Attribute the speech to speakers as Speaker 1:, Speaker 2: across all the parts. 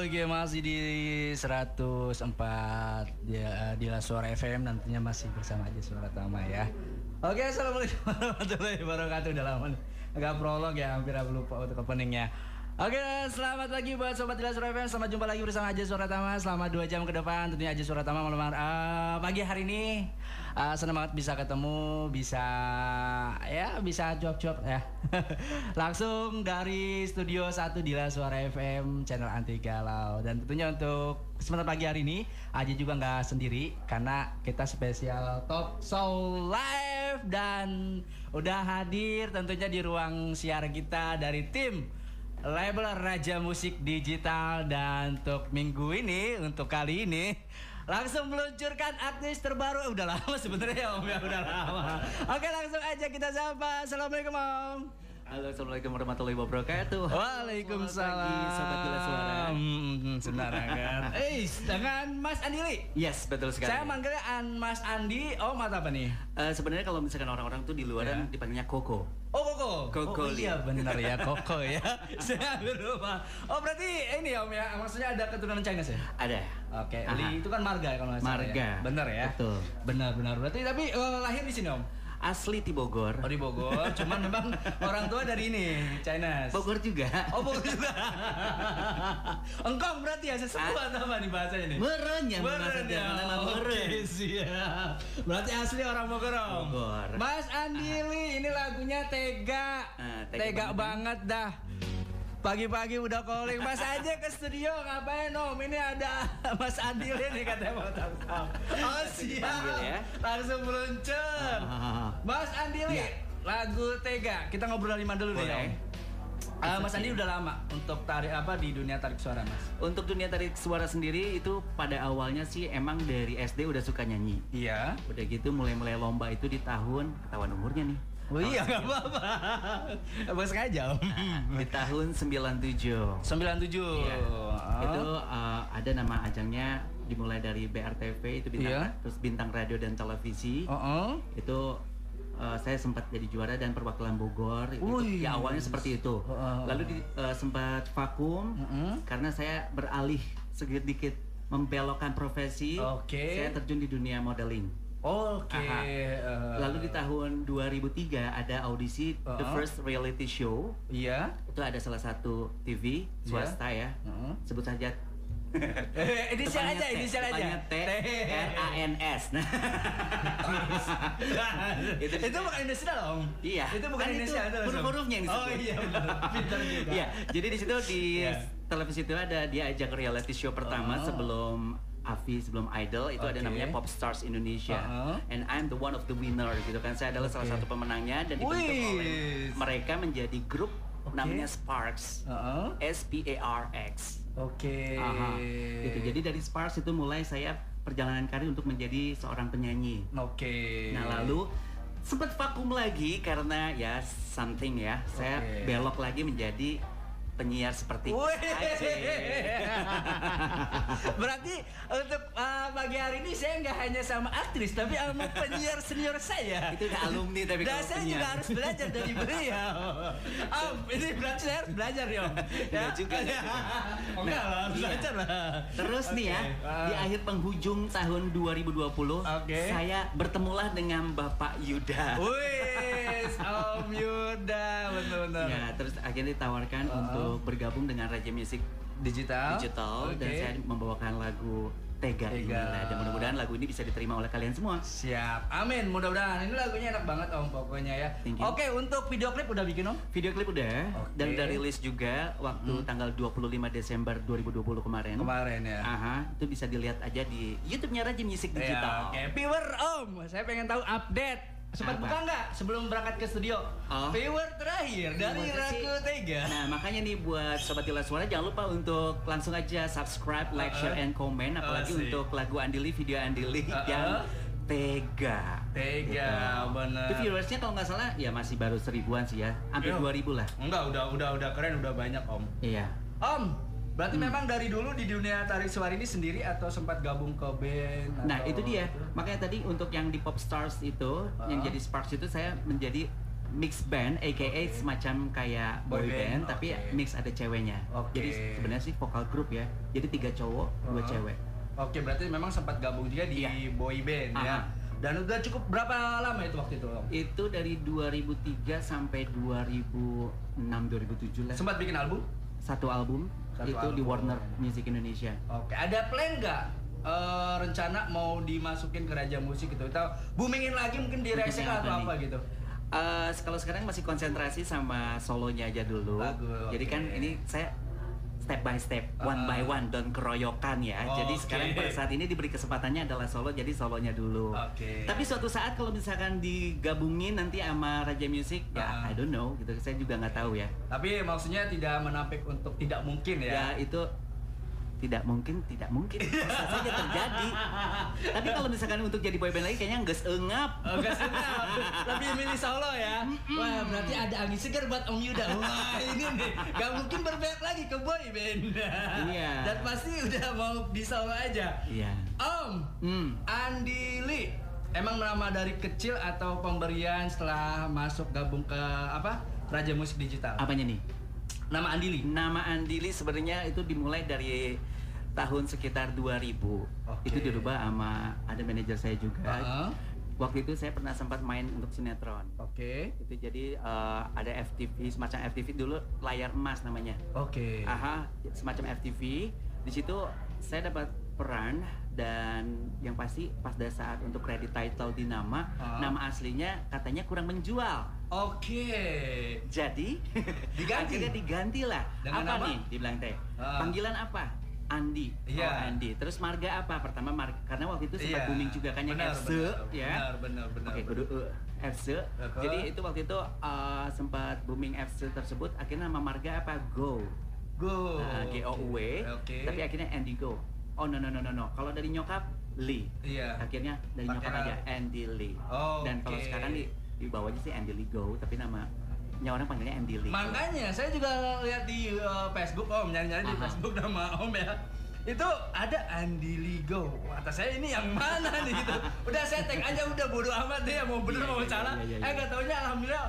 Speaker 1: Oke, masih di 104 ya, di La Suara FM nantinya masih bersama aja Suara Tama ya. Oke, assalamualaikum warahmatullahi wabarakatuh. Udah lama nih. agak prolog ya, hampir aku lupa untuk openingnya. Oke, selamat pagi buat sobat Dila Suara FM. Selamat jumpa lagi bersama Aja Suara Tama selama 2 jam ke depan. Tentunya Aja Suara Tama malam hari- eh, pagi hari ini eh, senang banget bisa ketemu, bisa ya bisa cuap-cuap ya. Langsung dari studio 1 Dila Suara FM channel Anti Galau dan tentunya untuk kesempatan pagi hari ini Aja juga nggak sendiri karena kita spesial Talk Show Live dan udah hadir tentunya di ruang siar kita dari tim label Raja Musik Digital dan untuk minggu ini untuk kali ini langsung meluncurkan artis terbaru Eh, udah lama sebenarnya ya, Om ya udah lama oke langsung aja kita sapa assalamualaikum Om
Speaker 2: Halo, assalamualaikum warahmatullahi wabarakatuh.
Speaker 1: Oh. Waalaikumsalam
Speaker 2: Selamat pagi, sobat gila suara.
Speaker 1: Hmm, Sebentar kan Eh dengan Mas Andili
Speaker 2: Yes, betul sekali.
Speaker 1: saya manggilnya An Mas Andi Om atau apa nih
Speaker 2: Eh, sebenarnya kalau misalkan orang-orang tuh di
Speaker 1: Iya.
Speaker 2: luaran dipanggilnya Koko.
Speaker 1: Oh Koko,
Speaker 2: Koko,
Speaker 1: oh, iya bener ya Koko ya. Saya berubah. Oh berarti ini Om ya, maksudnya ada keturunan Chinese ya?
Speaker 2: Ada.
Speaker 1: Oke,
Speaker 2: Aha.
Speaker 1: Li itu kan marga ya kalau nggak salah
Speaker 2: Marga.
Speaker 1: Ya? Bener ya?
Speaker 2: Betul.
Speaker 1: Benar, benar. Berarti tapi eh, lahir di sini om.
Speaker 2: Asli di Bogor.
Speaker 1: Oh di Bogor, cuman memang orang tua dari ini, China.
Speaker 2: Bogor juga.
Speaker 1: Oh Bogor juga. Engkong berarti ya sesuatu
Speaker 2: Ah.
Speaker 1: atau apa nih bahasanya nih?
Speaker 2: Meren ya,
Speaker 1: Meren
Speaker 2: bahasa Jerman
Speaker 1: ya.
Speaker 2: nama meren.
Speaker 1: Oke, siap. Berarti asli orang Bogor om.
Speaker 2: Bogor.
Speaker 1: Mas Andili, ini lagunya tega,
Speaker 2: Ah,
Speaker 1: tega,
Speaker 2: tega
Speaker 1: banget dah. Pagi-pagi udah calling Mas aja ke studio ngapain om Ini ada Mas Andili nih katanya mau tahu Oh siap
Speaker 2: dipanggil ya.
Speaker 1: Langsung meluncur
Speaker 2: Ah, ah, ah.
Speaker 1: Mas Andili
Speaker 2: Iya.
Speaker 1: Lagu Tega Kita ngobrol lima dulu nih
Speaker 2: Boleh.
Speaker 1: om Ah, Mas Andi udah lama untuk tarik apa di dunia tarik suara mas?
Speaker 2: Untuk dunia tarik suara sendiri itu pada awalnya sih emang dari SD udah suka nyanyi.
Speaker 1: Iya.
Speaker 2: Udah gitu mulai-mulai lomba itu di tahun ketahuan umurnya nih.
Speaker 1: Oh iya nggak apa-apa. Abang sengaja om.
Speaker 2: Di tahun 97.
Speaker 1: 97.
Speaker 2: Iya.
Speaker 1: Gitu.
Speaker 2: Itu uh, ada nama ajangnya dimulai dari BRTV itu bintang
Speaker 1: Iya.
Speaker 2: terus bintang radio dan televisi.
Speaker 1: Oh, oh.
Speaker 2: Itu uh, saya sempat jadi juara dan perwakilan Bogor. Itu,
Speaker 1: Wih.
Speaker 2: ya awalnya seperti itu.
Speaker 1: Oh, oh.
Speaker 2: Lalu di- uh, sempat vakum
Speaker 1: Mm-mm.
Speaker 2: karena saya beralih sedikit membelokkan profesi.
Speaker 1: Oke.
Speaker 2: Saya terjun di dunia modeling.
Speaker 1: Oke.
Speaker 2: Aha.
Speaker 1: eh,
Speaker 2: Lalu di tahun 2003 ada audisi The
Speaker 1: Oh, oh.
Speaker 2: First Reality Show.
Speaker 1: Iya.
Speaker 2: Itu ada salah satu TV swasta ya.
Speaker 1: Heeh.
Speaker 2: Sebut saja
Speaker 1: Eh, inisial
Speaker 2: Depannya
Speaker 1: aja,
Speaker 2: T,
Speaker 1: inisial aja.
Speaker 2: depannya T R A N S. Nah,
Speaker 1: itu,
Speaker 2: Itu-
Speaker 1: itu bukan inisial om.
Speaker 2: Iya.
Speaker 1: Itu bukan
Speaker 2: Kan itu
Speaker 1: inisial. Om.
Speaker 2: huruf-hurufnya yang
Speaker 1: Oh
Speaker 2: disebut.
Speaker 1: iya. bener. Pintar juga.
Speaker 2: Iya, jadi di situ di
Speaker 1: Iya.
Speaker 2: televisi itu ada dia ajak reality show pertama
Speaker 1: Oh.
Speaker 2: sebelum Avi sebelum Idol itu ada
Speaker 1: Oke.
Speaker 2: namanya Pop Stars Indonesia
Speaker 1: Uh-uh.
Speaker 2: and I'm the one of the winner gitu kan saya adalah salah
Speaker 1: Oke.
Speaker 2: satu pemenangnya dan dibentuk
Speaker 1: Wih.
Speaker 2: oleh mereka menjadi grup
Speaker 1: Oke.
Speaker 2: namanya Sparks
Speaker 1: Heeh.
Speaker 2: S P A R X
Speaker 1: Uh-uh. Oke.
Speaker 2: Aha, gitu. Jadi dari Sparks itu mulai saya perjalanan karir untuk menjadi seorang penyanyi.
Speaker 1: Oke.
Speaker 2: Nah lalu sempat vakum lagi karena ya something ya saya
Speaker 1: Oke.
Speaker 2: belok lagi menjadi penyiar seperti
Speaker 1: Wih.
Speaker 2: Aceh.
Speaker 1: Berarti untuk uh, pagi hari ini saya nggak hanya sama aktris tapi sama penyiar senior saya.
Speaker 2: Itu udah alumni tapi
Speaker 1: Dan
Speaker 2: kalau
Speaker 1: saya
Speaker 2: penyiar.
Speaker 1: juga harus belajar dari beliau. Om, ini berarti saya harus belajar ya, Om.
Speaker 2: Nggak Iya juga, nggak juga.
Speaker 1: Oh, enggak lah, harus
Speaker 2: Iya.
Speaker 1: belajar lah.
Speaker 2: Terus nih ya,
Speaker 1: Oke,
Speaker 2: di
Speaker 1: ah.
Speaker 2: akhir penghujung tahun 2020,
Speaker 1: Oke.
Speaker 2: saya bertemulah dengan Bapak Yuda.
Speaker 1: Wih, Om Yuda, benar-benar.
Speaker 2: Ya, terus akhirnya ditawarkan
Speaker 1: Ah.
Speaker 2: untuk bergabung dengan Raja Music
Speaker 1: Digital.
Speaker 2: Digital dan
Speaker 1: Oke.
Speaker 2: saya membawakan lagu Tega, ini.
Speaker 1: Tega.
Speaker 2: Nah, dan mudah-mudahan lagu ini bisa diterima oleh kalian semua.
Speaker 1: Siap, amin. Mudah-mudahan ini lagunya enak banget om pokoknya ya.
Speaker 2: Thank you.
Speaker 1: Oke, untuk video klip udah bikin om?
Speaker 2: Video klip udah
Speaker 1: Oke. Hmm.
Speaker 2: dan udah rilis juga waktu tanggal 25 Desember 2020 kemarin. Ah,
Speaker 1: Kemarin ya.
Speaker 2: Aha, itu bisa dilihat aja di YouTube-nya Raja Music
Speaker 1: Ya,
Speaker 2: Digital.
Speaker 1: Oke, viewer Om, saya pengen tahu update. Sempat
Speaker 2: Apa?
Speaker 1: buka nggak sebelum berangkat ke studio?
Speaker 2: Oh. Iya,
Speaker 1: Viewer terakhir dari
Speaker 2: Terima kasih.
Speaker 1: Raku Tega.
Speaker 2: Nah, makanya nih buat sobat Tila Suara jangan lupa untuk langsung aja subscribe, like,
Speaker 1: Uh-uh.
Speaker 2: share and comment apalagi
Speaker 1: Asik.
Speaker 2: untuk lagu Andili, video Andili
Speaker 1: Uh-uh.
Speaker 2: yang Tega. Gitu.
Speaker 1: Tega, bener.
Speaker 2: Itu viewersnya kalau nggak salah ya masih baru seribuan sih ya, hampir
Speaker 1: Iya.
Speaker 2: 2000 lah.
Speaker 1: Enggak, udah udah udah keren, udah banyak Om.
Speaker 2: Iya.
Speaker 1: Om,
Speaker 2: Hmm.
Speaker 1: berarti memang dari dulu di dunia tari suara ini sendiri atau sempat gabung ke band?
Speaker 2: Nah
Speaker 1: atau- gitu?
Speaker 2: itu dia, makanya tadi untuk yang di Pop Stars itu, yang
Speaker 1: Uh-huh.
Speaker 2: jadi Sparks itu saya menjadi mix band, aka
Speaker 1: Oke.
Speaker 2: semacam kayak boy, band,
Speaker 1: Boy band,
Speaker 2: tapi
Speaker 1: oke.
Speaker 2: mix ada ceweknya.
Speaker 1: Oke.
Speaker 2: Jadi sebenarnya sih vokal grup ya. Jadi tiga cowok, dua
Speaker 1: Uh-huh.
Speaker 2: cewek.
Speaker 1: Oke, berarti memang sempat gabung juga di
Speaker 2: Iya.
Speaker 1: boy band ya.
Speaker 2: Aha.
Speaker 1: Dan udah cukup berapa lama itu waktu itu? Om?
Speaker 2: Itu dari 2003 sampai 2006 2007 lah.
Speaker 1: Sempat bikin album?
Speaker 2: Satu album
Speaker 1: Satu
Speaker 2: itu di
Speaker 1: album.
Speaker 2: Warner Music Indonesia.
Speaker 1: Oke, ada plan nggak eh, rencana mau dimasukin ke Raja Musik gitu? Atau boomingin lagi mungkin di
Speaker 2: Mungkin
Speaker 1: Rexel
Speaker 2: yang
Speaker 1: atau
Speaker 2: apa
Speaker 1: apa
Speaker 2: nih?
Speaker 1: gitu?
Speaker 2: Eh, kalau sekarang masih konsentrasi sama solonya aja dulu.
Speaker 1: Bagus,
Speaker 2: Jadi
Speaker 1: oke.
Speaker 2: kan ini saya step by step, one
Speaker 1: Ah.
Speaker 2: by one, dan keroyokan ya. Jadi
Speaker 1: Oke.
Speaker 2: sekarang pada saat ini diberi kesempatannya adalah solo, jadi solonya dulu.
Speaker 1: Oke.
Speaker 2: Tapi suatu saat kalau misalkan digabungin nanti sama Raja Music, ya
Speaker 1: Ah.
Speaker 2: I don't know, gitu. Saya juga nggak tahu ya.
Speaker 1: Tapi maksudnya tidak menampik untuk tidak mungkin ya.
Speaker 2: Ya itu tidak mungkin, tidak mungkin. Bisa saja terjadi. Tapi kalau misalkan untuk jadi boyband lagi kayaknya nggak seengap.
Speaker 1: Oke, sedap. Lebih milih solo ya. Wah, berarti ada angin segar buat Om Yuda. Wah, ini nih. Gak mungkin berbelok lagi ke boy band.
Speaker 2: Iya.
Speaker 1: Dan pasti udah mau di solo aja.
Speaker 2: Iya.
Speaker 1: Om,
Speaker 2: Hmm.
Speaker 1: Andi Lee. Emang nama dari kecil atau pemberian setelah masuk gabung ke apa? Raja Musik Digital.
Speaker 2: Apanya nih?
Speaker 1: Nama Andi Lee.
Speaker 2: Nama Andili sebenarnya itu dimulai dari tahun sekitar 2000.
Speaker 1: Oke.
Speaker 2: Itu dirubah sama ada manajer saya juga.
Speaker 1: Heeh.
Speaker 2: Waktu itu saya pernah sempat main untuk sinetron.
Speaker 1: Oke.
Speaker 2: Itu jadi eh, ada FTV semacam FTV dulu layar emas namanya.
Speaker 1: Oke.
Speaker 2: Aha, semacam FTV. Di situ saya dapat peran dan yang pasti pas pada saat untuk credit title di nama,
Speaker 1: Ah.
Speaker 2: nama aslinya katanya kurang menjual.
Speaker 1: Oke.
Speaker 2: Jadi
Speaker 1: Diganti?
Speaker 2: akhirnya diganti lah.
Speaker 1: Dengan
Speaker 2: apa,
Speaker 1: apa?
Speaker 2: nih dibilang teh?
Speaker 1: Ah.
Speaker 2: Panggilan apa? Andi.
Speaker 1: Iya.
Speaker 2: Oh, Andi. Terus marga apa? Pertama marga karena waktu itu sempat
Speaker 1: Iya.
Speaker 2: booming juga kan yang
Speaker 1: Benar,
Speaker 2: Erse
Speaker 1: benar,
Speaker 2: ya.
Speaker 1: Benar, benar, benar.
Speaker 2: Oke,
Speaker 1: benar.
Speaker 2: kudu eh, Erse.
Speaker 1: Apa?
Speaker 2: Jadi itu waktu itu eh, sempat booming Erse tersebut akhirnya nama marga apa? Go.
Speaker 1: Go.
Speaker 2: Nah, G O U W.
Speaker 1: Oh, Oke. Iya.
Speaker 2: Tapi akhirnya Andy Go. Oh no no no no no. Kalau dari nyokap Lee.
Speaker 1: Iya.
Speaker 2: Akhirnya dari
Speaker 1: Pakai
Speaker 2: nyokap
Speaker 1: nama.
Speaker 2: aja Andy Lee.
Speaker 1: Oh,
Speaker 2: Dan kalau
Speaker 1: oke.
Speaker 2: sekarang di di bawahnya sih Andy Lee Go, tapi namanya orang panggilnya Andy Lee.
Speaker 1: Makanya saya juga lihat di uh, Facebook Om nyari-nyari di
Speaker 2: Aha.
Speaker 1: Facebook nama Om ya. Itu ada Andi Ligo. Atas saya ini yang mana nih gitu. Udah saya tag aja udah bodo amat deh mau bener
Speaker 2: Iya,
Speaker 1: mau
Speaker 2: iya,
Speaker 1: salah.
Speaker 2: iya, iya,
Speaker 1: Eh
Speaker 2: iya.
Speaker 1: nggak taunya alhamdulillah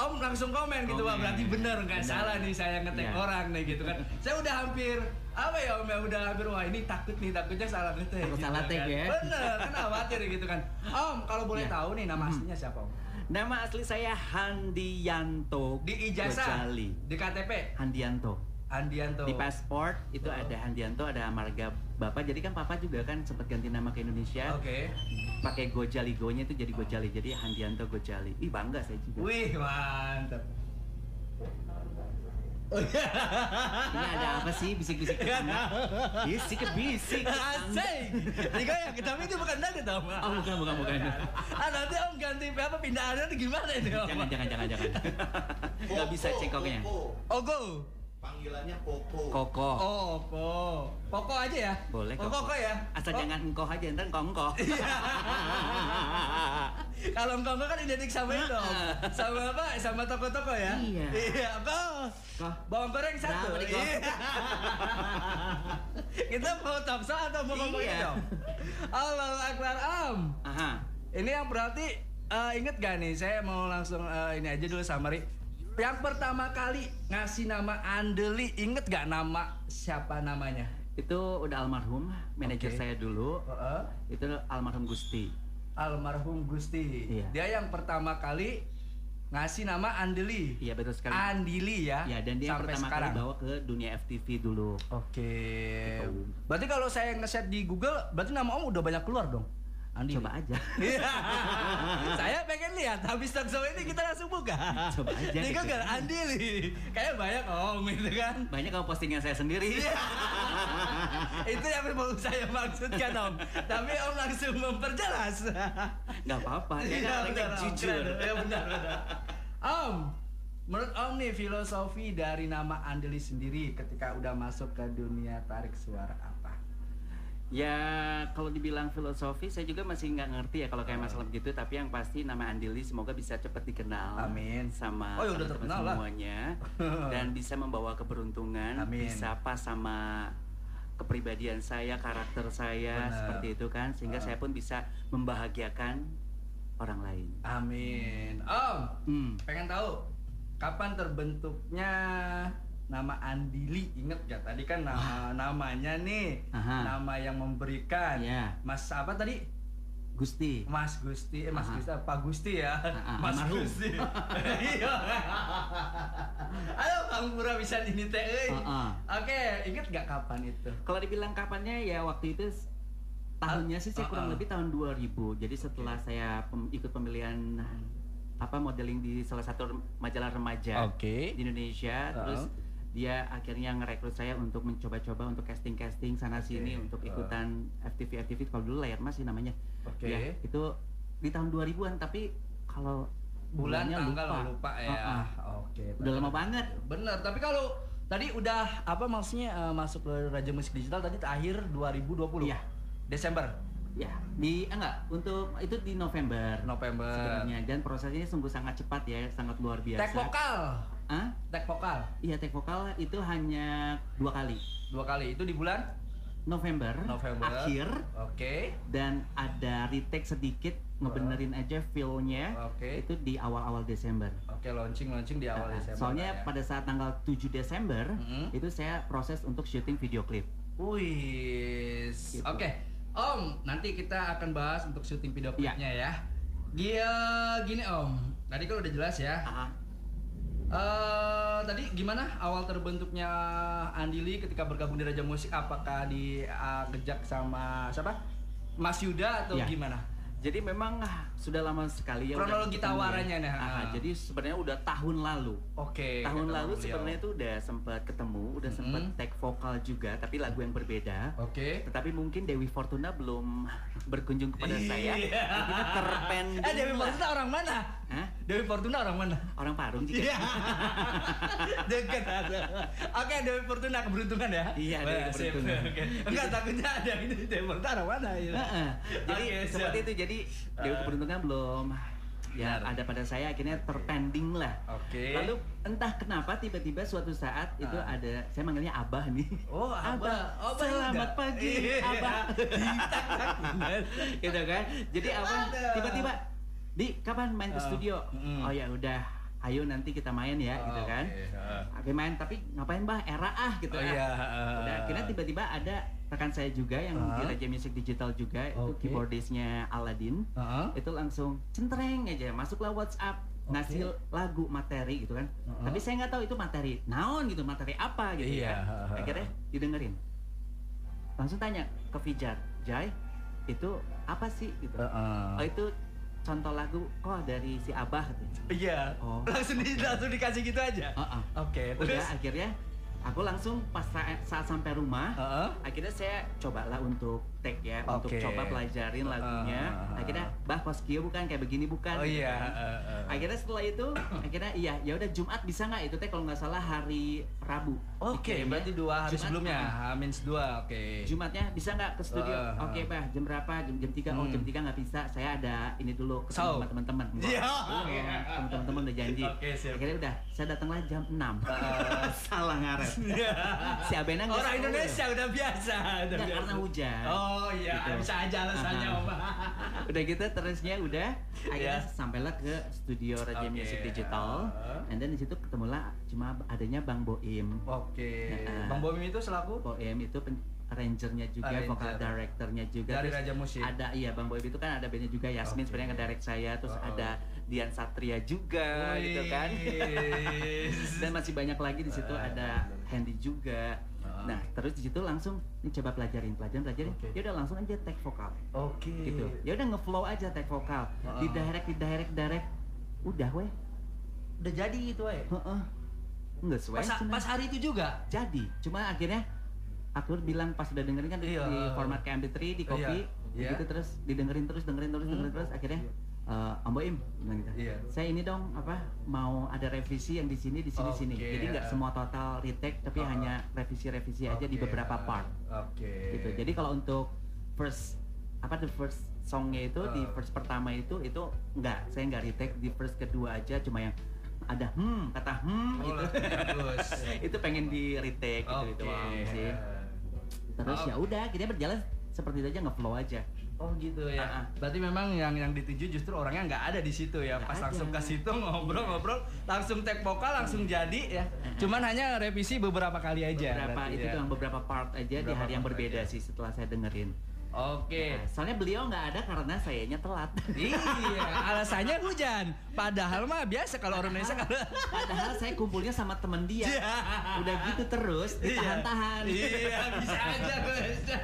Speaker 1: Om langsung komen gitu wah
Speaker 2: Komen.
Speaker 1: berarti bener nggak
Speaker 2: Bener.
Speaker 1: salah nih saya
Speaker 2: Iya.
Speaker 1: ngetek orang nih gitu kan. Saya udah hampir apa ya Om ya udah hampir wah ini takut nih takutnya salah ngetek.
Speaker 2: Takut
Speaker 1: gitu
Speaker 2: salah tag
Speaker 1: kan.
Speaker 2: ya.
Speaker 1: Bener, kan khawatir gitu kan. Om kalau boleh
Speaker 2: Iya.
Speaker 1: tahu nih nama aslinya siapa Om?
Speaker 2: Nama asli saya Handianto.
Speaker 1: Di ijazah,
Speaker 2: Gojali.
Speaker 1: di KTP,
Speaker 2: Handianto.
Speaker 1: Andianto.
Speaker 2: Di paspor itu ada Handianto, ada marga Bapak. Jadi kan Papa juga kan sempat ganti nama ke Indonesia.
Speaker 1: Oke.
Speaker 2: Pakai Gojali Go-nya itu
Speaker 1: Oh.
Speaker 2: jadi Gojali. Jadi Handianto Gojali. Ih bangga saya juga.
Speaker 1: Wih, mantap.
Speaker 2: Ini ada apa sih bisik-bisik ke sana? Bisik ke bisik. ke tangga.
Speaker 1: Asik. Digoyang, tapi itu bukan dada tau Mak.
Speaker 2: Oh bukan bukan bukan.
Speaker 1: Ah nanti om ganti apa pindahannya atau gimana ini om?
Speaker 2: Jangan jangan jangan jangan. Gak bisa cengkoknya.
Speaker 3: Koko.
Speaker 1: Ogo.
Speaker 3: Panggilannya Koko.
Speaker 2: Koko.
Speaker 1: Oh, Oko. Poko aja ya?
Speaker 2: Boleh
Speaker 1: Oh, Koko ya?
Speaker 2: Asal
Speaker 1: Oh,
Speaker 2: jangan engkau aja ntar engkau engkau.
Speaker 1: Kalau Koko kan identik sama itu om. Sama apa? Sama toko-toko
Speaker 2: Ah.
Speaker 1: ya?
Speaker 2: Iya.
Speaker 1: Iya, Koko.
Speaker 2: Kok?
Speaker 1: Bawang goreng
Speaker 2: Berapa
Speaker 1: satu.
Speaker 2: nih, Kok?
Speaker 1: Iya. Kita mau topso atau mau ngomongin
Speaker 2: Iya.
Speaker 1: dong? Allah Akbar Om.
Speaker 2: Aha.
Speaker 1: Ini yang berarti eh, inget gak nih? Saya mau langsung eh, ini aja dulu summary. Yang pertama kali ngasih nama Andeli, inget gak nama siapa namanya?
Speaker 2: Itu udah almarhum, manajer
Speaker 1: Oke.
Speaker 2: saya dulu.
Speaker 1: Heeh.
Speaker 2: Itu almarhum Gusti.
Speaker 1: Almarhum Gusti.
Speaker 2: Iya.
Speaker 1: Dia yang pertama kali ngasih nama Andeli.
Speaker 2: Iya betul sekali.
Speaker 1: Andili ya.
Speaker 2: ya dan dia yang
Speaker 1: sampai
Speaker 2: pertama
Speaker 1: sekarang.
Speaker 2: kali bawa ke dunia FTV dulu.
Speaker 1: Oke.
Speaker 2: Gitu.
Speaker 1: Berarti kalau saya nge-search di Google, berarti nama Om udah banyak keluar dong. Andi.
Speaker 2: Coba aja.
Speaker 1: Iya. saya pengen lihat habis talk show ini kita langsung buka.
Speaker 2: Coba aja
Speaker 1: Di
Speaker 2: gitu.
Speaker 1: Google Andi Li. Kayak banyak Om itu kan.
Speaker 2: Banyak kalau postingan saya sendiri.
Speaker 1: Iya. itu yang mau saya maksudkan Om. Tapi Om langsung memperjelas.
Speaker 2: Gak apa-apa. Ya
Speaker 1: Iya,
Speaker 2: kan orangnya
Speaker 1: benar, Om.
Speaker 2: jujur.
Speaker 1: Keren, Iya benar benar. Om, menurut Om nih filosofi dari nama Andeli sendiri ketika udah masuk ke dunia tarik suara apa?
Speaker 2: Ya kalau dibilang filosofi saya juga masih nggak ngerti ya kalau kayak
Speaker 1: Ah.
Speaker 2: masalah begitu tapi yang pasti nama Andili semoga bisa cepat dikenal.
Speaker 1: Amin.
Speaker 2: Sama
Speaker 1: Oh, ya udah
Speaker 2: teman-teman
Speaker 1: terkenal lah.
Speaker 2: semuanya dan bisa membawa keberuntungan,
Speaker 1: Amin.
Speaker 2: bisa pas sama kepribadian saya, karakter saya
Speaker 1: Benar.
Speaker 2: seperti itu kan sehingga
Speaker 1: Ah.
Speaker 2: saya pun bisa membahagiakan orang lain.
Speaker 1: Amin. Om,
Speaker 2: Hmm.
Speaker 1: pengen tahu kapan terbentuknya nama Andili? Ingat ya tadi kan nama namanya nih,
Speaker 2: Aha.
Speaker 1: nama yang memberikan.
Speaker 2: Nah. Iya.
Speaker 1: Mas apa tadi?
Speaker 2: Gusti.
Speaker 1: Mas Gusti, eh Mas
Speaker 2: Aha.
Speaker 1: Gusti, Pak Gusti ya,
Speaker 2: ah,
Speaker 1: Mas
Speaker 2: almarhum.
Speaker 1: Gusti. Iya. Ayo Bang Pura bisa ini teh. euy.
Speaker 2: Ah, ah.
Speaker 1: Oke, inget gak kapan itu?
Speaker 2: Kalau dibilang kapannya ya waktu itu s- tahunnya sih saya
Speaker 1: Ah,
Speaker 2: kurang
Speaker 1: ah.
Speaker 2: lebih tahun 2000. Jadi setelah saya pem- ikut pemilihan apa modeling di salah satu rem- majalah remaja
Speaker 1: Oke.
Speaker 2: di Indonesia,
Speaker 1: Ah,
Speaker 2: terus
Speaker 1: Oh. ah.
Speaker 2: dia akhirnya ngerekrut saya untuk mencoba-coba untuk casting-casting sana sini
Speaker 1: Oke,
Speaker 2: untuk
Speaker 1: ah.
Speaker 2: ikutan FTV FTV kalau dulu layar mas sih namanya.
Speaker 1: Oke.
Speaker 2: Ya, itu di tahun 2000-an tapi kalau
Speaker 1: Bulan
Speaker 2: bulannya
Speaker 1: tanggal lupa, ya.
Speaker 2: Ah, ah.
Speaker 1: Oke.
Speaker 2: Udah lama banget.
Speaker 1: Bener, tapi kalau tadi udah apa maksudnya eh, masuk ke Raja Musik Digital tadi akhir 2020.
Speaker 2: Iya.
Speaker 1: Desember,
Speaker 2: Ya, di ah, enggak untuk itu di November.
Speaker 1: November.
Speaker 2: sebenarnya dan prosesnya sungguh sangat cepat ya sangat luar biasa
Speaker 1: Tek vokal.
Speaker 2: Hah?
Speaker 1: Tek vokal
Speaker 2: iya tek vokal itu hanya dua kali
Speaker 1: dua kali itu di bulan
Speaker 2: November,
Speaker 1: November.
Speaker 2: akhir
Speaker 1: Oke.
Speaker 2: dan ada retake sedikit ngebenerin aja feel-nya
Speaker 1: Oke.
Speaker 2: itu di awal-awal Desember
Speaker 1: Oke, launching-launching di awal
Speaker 2: Nah,
Speaker 1: Desember.
Speaker 2: soalnya
Speaker 1: lah ya.
Speaker 2: pada saat tanggal 7 Desember
Speaker 1: Mhm.
Speaker 2: itu saya proses untuk syuting video klip
Speaker 1: Wih,
Speaker 2: Gitu.
Speaker 1: oke. Om, nanti kita akan bahas untuk syuting video
Speaker 2: Iya.
Speaker 1: klipnya ya. Dia gini Om, tadi kan udah jelas ya.
Speaker 2: Ah,
Speaker 1: Eh, tadi gimana awal terbentuknya Andili ketika bergabung di Raja Musik? Apakah diajak sama siapa? Mas Yuda atau
Speaker 2: Iya.
Speaker 1: gimana?
Speaker 2: jadi memang ah, sudah lama sekali ya udah ketemu
Speaker 1: Kronologi
Speaker 2: ya.
Speaker 1: tawarannya, nah.
Speaker 2: Ah, ah, jadi sebenarnya udah tahun lalu
Speaker 1: Oke.
Speaker 2: tahun
Speaker 1: kata
Speaker 2: lalu
Speaker 1: beliau.
Speaker 2: sebenarnya itu udah sempat ketemu, udah sempat
Speaker 1: Mm-mm.
Speaker 2: tag vokal juga, tapi lagu yang berbeda.
Speaker 1: Oke.
Speaker 2: Tetapi mungkin Dewi Fortuna belum berkunjung kepada saya.
Speaker 1: Iya.
Speaker 2: Akhirnya terpending.
Speaker 1: Eh Dewi
Speaker 2: lah.
Speaker 1: Fortuna orang mana?
Speaker 2: Hah?
Speaker 1: Dewi Fortuna orang mana?
Speaker 2: Orang Parung juga.
Speaker 1: Iya. Dekat. Oke, Dewi Fortuna keberuntungan ya.
Speaker 2: Iya, Dewi
Speaker 1: Wah, sip.
Speaker 2: keberuntungan.
Speaker 1: Oke. Enggak takutnya ada ini Dewi Fortuna orang mana ya.
Speaker 2: Heeh. Jadi
Speaker 1: Oke, siap.
Speaker 2: seperti itu. Jadi Dewi
Speaker 1: Eh.
Speaker 2: Fortuna belum ya
Speaker 1: Benar.
Speaker 2: ada pada saya akhirnya terpending lah.
Speaker 1: Oke.
Speaker 2: Lalu entah kenapa tiba-tiba suatu saat itu
Speaker 1: Ah.
Speaker 2: ada saya manggilnya Abah nih.
Speaker 1: Oh, Abah.
Speaker 2: Abah,
Speaker 1: Abah
Speaker 2: selamat
Speaker 1: Yuda.
Speaker 2: pagi,
Speaker 1: Iya.
Speaker 2: Abah. gitu kan jadi apa
Speaker 1: Ada.
Speaker 2: tiba-tiba di kapan main ke
Speaker 1: Ah,
Speaker 2: studio
Speaker 1: mm.
Speaker 2: oh ya udah ayo nanti kita main ya gitu kan Oke main tapi ngapain bah era ah gitu
Speaker 1: Ah, iya.
Speaker 2: ah.
Speaker 1: Oh, iya, ah.
Speaker 2: Udah akhirnya tiba-tiba ada rekan saya juga yang di
Speaker 1: Ah.
Speaker 2: Raja Music Digital juga itu
Speaker 1: Oke.
Speaker 2: keyboardisnya Aladin
Speaker 1: Heeh.
Speaker 2: itu langsung centreng aja masuklah WhatsApp
Speaker 1: Oke.
Speaker 2: ngasih lagu materi gitu kan
Speaker 1: Ah.
Speaker 2: tapi saya nggak tahu itu materi naon gitu materi apa gitu
Speaker 1: Iya, ah.
Speaker 2: kan akhirnya didengerin langsung tanya ke Fijar Jai itu apa sih gitu oh itu contoh lagu oh dari si Abah katanya.
Speaker 1: Iya.
Speaker 2: Oh.
Speaker 1: Langsung di, langsung dikasih gitu aja.
Speaker 2: Ah, ah.
Speaker 1: Oke,
Speaker 2: udah
Speaker 1: terus.
Speaker 2: akhirnya aku langsung pas sa- saat sampai rumah
Speaker 1: Heeh.
Speaker 2: akhirnya saya cobalah untuk tag ya untuk
Speaker 1: Oke.
Speaker 2: coba pelajarin lagunya
Speaker 1: Ah, ah, ah.
Speaker 2: akhirnya bah Koskio bukan kayak begini bukan
Speaker 1: Oh
Speaker 2: gitu
Speaker 1: iya.
Speaker 2: kan.
Speaker 1: heeh.
Speaker 2: akhirnya setelah itu akhirnya iya ya udah Jumat bisa nggak itu teh kalau nggak salah hari Rabu
Speaker 1: Oke, Iya.
Speaker 2: Dikirimnya.
Speaker 1: berarti dua hari
Speaker 2: Jumat,
Speaker 1: sebelumnya.
Speaker 2: ah,
Speaker 1: Hamin dua, oke.
Speaker 2: Jumatnya bisa nggak ke studio?
Speaker 1: Ah, ah.
Speaker 2: Oke bah, jam berapa? Jam jam tiga? Oh
Speaker 1: Hmm.
Speaker 2: jam tiga nggak bisa. Saya ada ini dulu ke sama
Speaker 1: Saum.
Speaker 2: teman-teman. Wah,
Speaker 1: Iya.
Speaker 2: belum. Teman-teman udah janji.
Speaker 1: Oke, siap.
Speaker 2: Akhirnya udah. Saya datanglah jam 6
Speaker 1: Ah.
Speaker 2: Salah ngaret. si Abena nggak
Speaker 1: Orang
Speaker 2: tahu.
Speaker 1: Indonesia udah biasa, udah
Speaker 2: Nggak,
Speaker 1: biasa.
Speaker 2: karena hujan.
Speaker 1: Oh iya,
Speaker 2: Gitu.
Speaker 1: bisa aja alasannya,
Speaker 2: Ah.
Speaker 1: Om.
Speaker 2: Udah gitu terusnya udah. Akhirnya
Speaker 1: Iya.
Speaker 2: sampailah ke studio Raja
Speaker 1: Oke,
Speaker 2: Music Digital.
Speaker 1: ah.
Speaker 2: And then di situ ketemulah cuma adanya Bang Boim.
Speaker 1: Oke.
Speaker 2: Heeh.
Speaker 1: Bang Bomi itu selaku
Speaker 2: Boem itu pen- arrangernya juga,
Speaker 1: Arranger.
Speaker 2: vokal directornya juga.
Speaker 1: Ah, Dari
Speaker 2: Terus
Speaker 1: Raja Musik.
Speaker 2: Ada iya Bang Boem itu kan ada bandnya juga Yasmin
Speaker 1: Oke.
Speaker 2: sebenarnya ngedirect saya, terus
Speaker 1: Oh, oh.
Speaker 2: ada Dian Satria juga gitu kan.
Speaker 1: Wih.
Speaker 2: Dan masih banyak lagi di situ
Speaker 1: Eh,
Speaker 2: ada Handy juga.
Speaker 1: Oh.
Speaker 2: Nah, terus di situ langsung ini coba pelajarin, pelajarin, pelajarin.
Speaker 1: Oke.
Speaker 2: Ya udah langsung aja tag vokal
Speaker 1: Oke.
Speaker 2: gitu. Ya udah ngeflow aja tag vokal.
Speaker 1: Oh, oh.
Speaker 2: Di direct, di direct, direct. Udah weh.
Speaker 1: Udah jadi itu, ay.
Speaker 2: Heeh. Nggak sesuai.
Speaker 1: Pas, pas hari itu juga.
Speaker 2: jadi cuma akhirnya aku bilang pas udah dengerin kan di,
Speaker 1: Iya.
Speaker 2: di format KMP3 di kopi
Speaker 1: Iya.
Speaker 2: gitu terus didengerin terus dengerin terus
Speaker 1: Hmm.
Speaker 2: dengerin terus akhirnya eh Om Boim bilang gitu.
Speaker 1: Iya.
Speaker 2: Saya ini dong apa mau ada revisi yang di sini di sini sini.
Speaker 1: Oke.
Speaker 2: Jadi nggak semua total retake tapi
Speaker 1: Oh.
Speaker 2: hanya revisi-revisi aja Iya, di
Speaker 1: Oke.
Speaker 2: beberapa part
Speaker 1: Oke.
Speaker 2: gitu. Jadi kalau untuk first apa the first songnya itu di
Speaker 1: Oh.
Speaker 2: first pertama itu itu nggak saya nggak retake di first kedua aja cuma yang ada hmm kata hmm
Speaker 1: Oh,
Speaker 2: gitu
Speaker 1: bagus.
Speaker 2: itu pengen di retake gitu gitu
Speaker 1: Oke.
Speaker 2: doang sih terus ya udah kita berjalan seperti itu aja nge-flow aja
Speaker 1: Oh gitu ya.
Speaker 2: Ah, ah.
Speaker 1: Berarti memang yang yang dituju justru orangnya nggak ada di situ ya.
Speaker 2: Nggak ada.
Speaker 1: Pas
Speaker 2: Hmm.
Speaker 1: langsung ke situ ngobrol-ngobrol, langsung tag vokal langsung jadi ya. Cuman hanya revisi beberapa kali aja.
Speaker 2: beberapa
Speaker 1: berarti
Speaker 2: itu
Speaker 1: ya.
Speaker 2: doang beberapa part aja di
Speaker 1: Beberapa
Speaker 2: hari yang
Speaker 1: part
Speaker 2: berbeda
Speaker 1: aja.
Speaker 2: sih setelah saya dengerin.
Speaker 1: Oke.
Speaker 2: Nah, soalnya beliau nggak ada karena sayanya telat.
Speaker 1: iya, alasannya hujan. Padahal mah biasa kalau orang Indonesia kalau
Speaker 2: Padahal saya kumpulnya sama temen dia.
Speaker 1: Iya.
Speaker 2: Udah gitu terus ditahan-tahan.
Speaker 1: Iya, Iya, bisa aja bisa.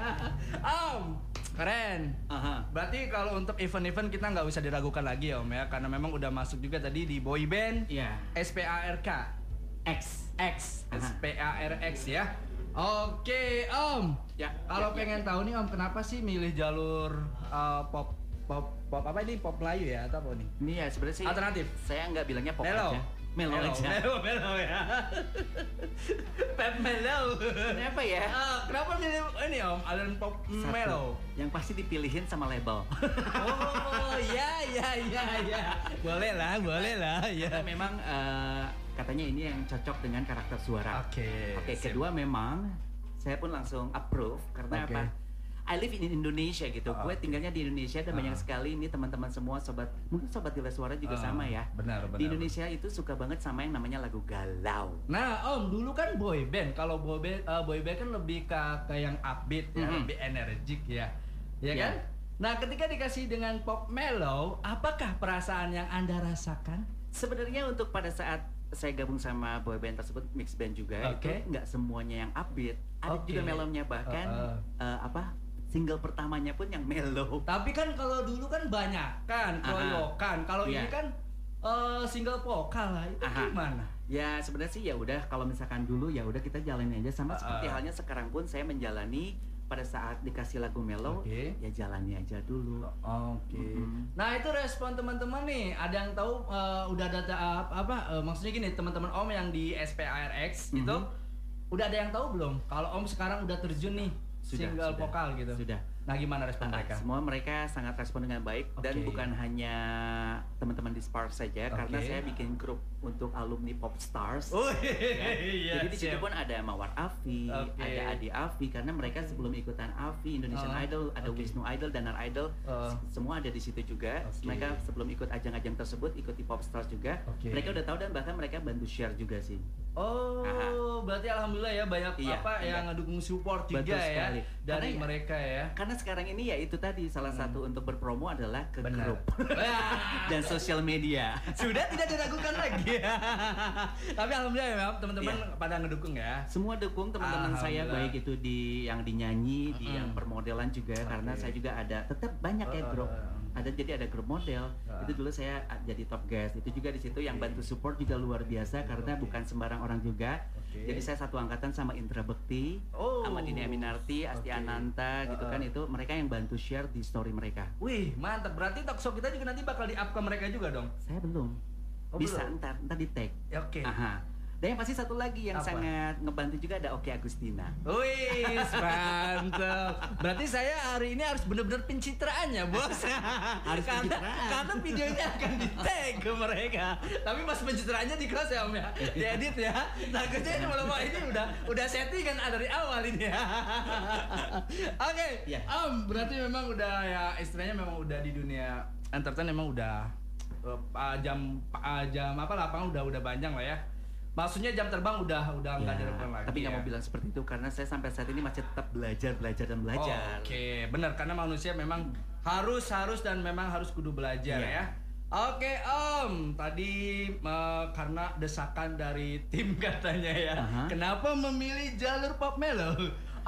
Speaker 1: Om, keren.
Speaker 2: Aha.
Speaker 1: Berarti kalau untuk event-event kita nggak usah diragukan lagi ya Om ya, karena memang udah masuk juga tadi di boy band
Speaker 2: Iya.
Speaker 1: SPARK.
Speaker 2: X.
Speaker 1: X,
Speaker 2: Aha.
Speaker 1: SPARX ya. Oke, Om.
Speaker 2: Ya, ya,
Speaker 1: Kalau
Speaker 2: ya,
Speaker 1: pengen tahu nih Om, kenapa sih milih jalur eh, pop pop pop apa ini pop Melayu ya atau apa nih?
Speaker 2: Ini ya sebenarnya sih.
Speaker 1: Alternatif.
Speaker 2: Saya nggak bilangnya pop
Speaker 1: Melo.
Speaker 2: aja. Melo aja.
Speaker 1: Melo, melo ya. Pep melo.
Speaker 2: Kenapa ya?
Speaker 1: Ah, kenapa milih ini Om, aliran pop
Speaker 2: Satu.
Speaker 1: melo?
Speaker 2: Yang pasti dipilihin sama label.
Speaker 1: Oh, ya ya ya ya. Boleh lah, boleh lah
Speaker 2: Karena
Speaker 1: ya.
Speaker 2: memang eh, katanya ini yang cocok dengan karakter suara.
Speaker 1: Oke.
Speaker 2: Oke,
Speaker 1: Nah, sip.
Speaker 2: kedua memang saya pun langsung approve karena
Speaker 1: Oke.
Speaker 2: apa? I live in Indonesia gitu.
Speaker 1: Ah,
Speaker 2: Gue
Speaker 1: oke.
Speaker 2: tinggalnya di Indonesia dan
Speaker 1: Ah.
Speaker 2: banyak sekali ini teman-teman semua sobat mungkin sobat gila suara juga
Speaker 1: Ah,
Speaker 2: sama ya.
Speaker 1: benar, benar.
Speaker 2: Di Indonesia itu suka banget sama yang namanya lagu galau.
Speaker 1: Nah, Om, dulu kan boy band. Kalau boy band, eh, boy band kan lebih ke, ke yang upbeat ya,
Speaker 2: Mhm.
Speaker 1: lebih energik ya. Ya
Speaker 2: Ya.
Speaker 1: kan? Nah, ketika dikasih dengan pop mellow, apakah perasaan yang Anda rasakan?
Speaker 2: Sebenarnya untuk pada saat saya gabung sama boy band tersebut mix band juga
Speaker 1: Oke.
Speaker 2: itu nggak semuanya yang upbeat. Ada
Speaker 1: Oke.
Speaker 2: juga melomnya bahkan
Speaker 1: Ah,
Speaker 2: eh, apa? single pertamanya pun yang mellow.
Speaker 1: Tapi kan kalau dulu kan banyak kan
Speaker 2: Aha.
Speaker 1: keroyokan. Kalau ini
Speaker 2: Iya.
Speaker 1: kan eh, single vokal lah. Itu
Speaker 2: Aha.
Speaker 1: gimana?
Speaker 2: Ya sebenarnya sih ya udah kalau misalkan dulu ya udah kita jalanin aja sama
Speaker 1: Uh-uh.
Speaker 2: seperti halnya sekarang pun saya menjalani pada saat dikasih lagu mellow
Speaker 1: Oke.
Speaker 2: ya jalani aja dulu.
Speaker 1: Oke.
Speaker 2: Mhm.
Speaker 1: Nah itu respon teman-teman nih. Ada yang tahu eh, udah ada ta- apa? eh, maksudnya gini, teman-teman Om yang di SPARX gitu, udah ada yang tahu belum? Kalau Om sekarang udah terjun nih
Speaker 2: Sudah,
Speaker 1: single
Speaker 2: sudah,
Speaker 1: vokal gitu.
Speaker 2: sudah. Eh,
Speaker 1: Nah gimana respon mereka?
Speaker 2: Semua mereka sangat respon dengan baik dan
Speaker 1: Oke.
Speaker 2: bukan hanya teman-teman di Sparks saja karena
Speaker 1: Oke.
Speaker 2: saya bikin grup untuk alumni Pop Stars.
Speaker 1: Oh
Speaker 2: ya.
Speaker 1: iya.
Speaker 2: Jadi di situ
Speaker 1: siap.
Speaker 2: pun ada Mawar Afi,
Speaker 1: Oke.
Speaker 2: ada Adi Afi karena mereka sebelum ikutan Afi, Indonesian
Speaker 1: Ah,
Speaker 2: Idol, ada
Speaker 1: oke.
Speaker 2: Wisnu Idol, Danar Idol,
Speaker 1: Ah.
Speaker 2: s- semua ada di situ juga.
Speaker 1: Oke.
Speaker 2: Mereka sebelum ikut ajang-ajang tersebut ikuti Popstars juga.
Speaker 1: Oke.
Speaker 2: Mereka udah tahu dan bahkan mereka bantu share juga sih.
Speaker 1: Oh,
Speaker 2: Aha.
Speaker 1: berarti alhamdulillah ya banyak
Speaker 2: Iya,
Speaker 1: apa
Speaker 2: iya.
Speaker 1: yang ngedukung support juga
Speaker 2: Betul
Speaker 1: ya
Speaker 2: sekali.
Speaker 1: dari
Speaker 2: Karena ya-
Speaker 1: mereka ya.
Speaker 2: Karena sekarang ini ya itu tadi salah satu untuk berpromo adalah ke
Speaker 1: Hmm. Benar.
Speaker 2: grup dan sosial media.
Speaker 1: Sudah tidak diragukan lagi. Tapi alhamdulillah ya, Om, teman-teman pada ngedukung ya.
Speaker 2: Semua dukung teman-teman saya
Speaker 1: Alhamdulillah.
Speaker 2: baik itu di yang dinyanyi, di
Speaker 1: Mm-mm.
Speaker 2: yang permodelan juga karena
Speaker 1: Oke.
Speaker 2: saya juga ada tetap banyak ya
Speaker 1: Uh, uh,
Speaker 2: grup.
Speaker 1: uh.
Speaker 2: Ada jadi ada grup model.
Speaker 1: Uh.
Speaker 2: Itu dulu saya a- jadi top guest. Itu juga di situ yang bantu support juga luar biasa karena
Speaker 1: Oke.
Speaker 2: bukan sembarang orang juga.
Speaker 1: Oke.
Speaker 2: Jadi saya satu angkatan sama Indra Bekti,
Speaker 1: Oh.
Speaker 2: sama Dini Aminarti, Asti
Speaker 1: Oke.
Speaker 2: Ananta gitu
Speaker 1: Uh, uh.
Speaker 2: kan itu mereka yang bantu share di story mereka.
Speaker 1: Wih, mantap. Berarti talkshow kita juga nanti bakal di-up ke mereka juga dong.
Speaker 2: Saya belum.
Speaker 1: Oh,
Speaker 2: Bisa
Speaker 1: belum?
Speaker 2: entar entar di tag.
Speaker 1: Ya, Oke.
Speaker 2: Aha. Dan yang pasti satu lagi yang
Speaker 1: Apa?
Speaker 2: sangat ngebantu juga ada Oke Agustina.
Speaker 1: Wih, mantap. Berarti saya hari ini harus bener-bener pencitraan ya, Bos.
Speaker 2: Harus
Speaker 1: karena,
Speaker 2: pencitraan.
Speaker 1: karena videonya akan di-tag ke mereka. Tapi pas pencitraannya di close ya, Om
Speaker 2: Iya.
Speaker 1: ya. Diedit ya. Takutnya ini malam ini udah udah settingan dari awal ini ya. Oke.
Speaker 2: Ya.
Speaker 1: Om, berarti memang udah ya istilahnya memang udah di dunia entertain memang udah eh, jam jam apa lapangan udah udah panjang lah ya. Maksudnya jam terbang udah udah nggak
Speaker 2: Ya,
Speaker 1: dilakukan lagi.
Speaker 2: Tapi nggak
Speaker 1: ya.
Speaker 2: mau bilang seperti itu karena saya sampai saat ini masih tetap belajar, belajar dan belajar.
Speaker 1: Oh, Oke, benar karena manusia memang harus harus dan memang harus kudu belajar
Speaker 2: Iya.
Speaker 1: ya. Oke Om, tadi eh, karena desakan dari tim katanya ya,
Speaker 2: Aha.
Speaker 1: kenapa memilih jalur pop melo?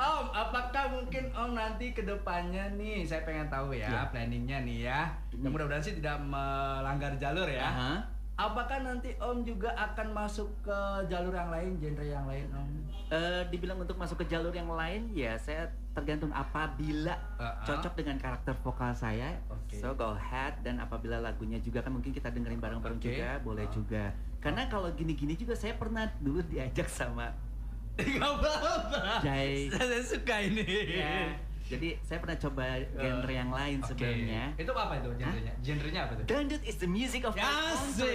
Speaker 1: Om, apakah mungkin Om nanti kedepannya nih, saya pengen tahu ya
Speaker 2: Iya.
Speaker 1: planningnya nih ya. Dan mudah-mudahan sih tidak melanggar jalur ya.
Speaker 2: Aha.
Speaker 1: Apakah nanti Om juga akan masuk ke jalur yang lain, genre yang lain Om?
Speaker 2: Eh, dibilang untuk masuk ke jalur yang lain, ya saya tergantung apabila
Speaker 1: Uh-uh.
Speaker 2: cocok dengan karakter vokal saya,
Speaker 1: Oke.
Speaker 2: so go ahead dan apabila lagunya juga kan mungkin kita dengerin bareng-bareng
Speaker 1: Oke.
Speaker 2: juga, boleh
Speaker 1: Uh.
Speaker 2: juga. Karena kalau gini-gini juga saya pernah dulu diajak sama
Speaker 1: Gak apa-apa.
Speaker 2: Jai.
Speaker 1: Saya suka ini.
Speaker 2: ya. Jadi saya pernah coba genre yang lain
Speaker 1: Iya. Oke.
Speaker 2: sebelumnya.
Speaker 1: Itu apa itu genrenya? Genrenya apa itu?
Speaker 2: Dangdut is the music of my country.
Speaker 1: Asik.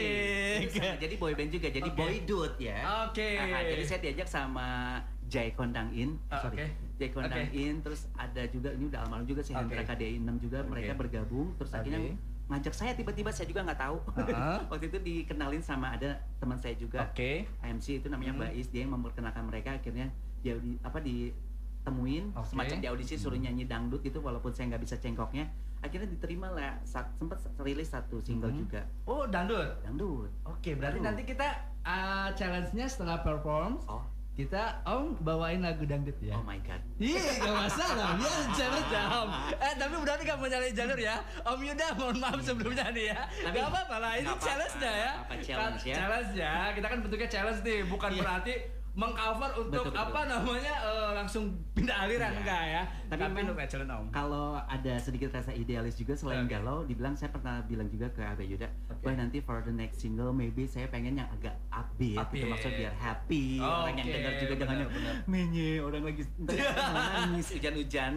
Speaker 2: Itu sama, Jadi boy band juga, jadi
Speaker 1: Ya, Oke.
Speaker 2: boy dude ya.
Speaker 1: Oke.
Speaker 2: Aha, jadi saya diajak sama Jai Kondang In.
Speaker 1: Ah,
Speaker 2: Sorry.
Speaker 1: oke.
Speaker 2: Jeko
Speaker 1: Oke.
Speaker 2: In, terus ada juga ini udah almarhum juga si Hendra
Speaker 1: Oke.
Speaker 2: KDI 6 juga mereka
Speaker 1: Oke.
Speaker 2: bergabung terus akhirnya
Speaker 1: Oke.
Speaker 2: ngajak saya tiba-tiba saya juga nggak tahu.
Speaker 1: Heeh.
Speaker 2: Waktu itu dikenalin sama ada teman saya juga
Speaker 1: Oke.
Speaker 2: AMC itu namanya
Speaker 1: Hmm.
Speaker 2: Mbak Is dia yang memperkenalkan mereka akhirnya dia di, apa ditemuin
Speaker 1: Oke. Hmm.
Speaker 2: semacam di audisi suruh nyanyi dangdut gitu walaupun saya nggak bisa cengkoknya akhirnya diterima lah saat sempat rilis satu single
Speaker 1: Mhm.
Speaker 2: juga
Speaker 1: Oh, dangdut.
Speaker 2: dangdut
Speaker 1: Oke, berarti
Speaker 2: Aduh.
Speaker 1: nanti kita uh, challenge-nya setelah perform
Speaker 2: oh
Speaker 1: kita om bawain lagu dangdut ya.
Speaker 2: oh my god
Speaker 1: Iya, gak masalah. Biar challenge ya, Om. Eh, tapi berarti kamu nyari jalur ya. Om Yuda, mohon maaf sebelumnya nih ya.
Speaker 2: Tapi-
Speaker 1: gak apa-apa lah, ini
Speaker 2: Gak apa-apa,
Speaker 1: challenge-nya ya.
Speaker 2: gak apa-apa, challenge ya.
Speaker 1: Challenge ya. Kita kan bentuknya challenge nih, bukan
Speaker 2: Iya.
Speaker 1: berarti mengcover
Speaker 2: Betul,
Speaker 1: untuk
Speaker 2: betul.
Speaker 1: apa namanya eh, langsung pindah aliran
Speaker 2: Iya.
Speaker 1: enggak ya.
Speaker 2: Tapi
Speaker 1: Tapi,
Speaker 2: memang-
Speaker 1: untuk challenge Om.
Speaker 2: kalau ada sedikit rasa idealis juga selain
Speaker 1: Oke.
Speaker 2: galau dibilang saya pernah bilang juga ke Abe Yuda
Speaker 1: Oke.
Speaker 2: wah nanti for the next single maybe saya pengen yang agak upbeat,
Speaker 1: Upbeat.
Speaker 2: gitu maksudnya biar happy
Speaker 1: Oh,
Speaker 2: orang yang
Speaker 1: oke,
Speaker 2: dengar juga jangan yang
Speaker 1: benar,
Speaker 2: menye orang lagi ntar nangis hujan-hujan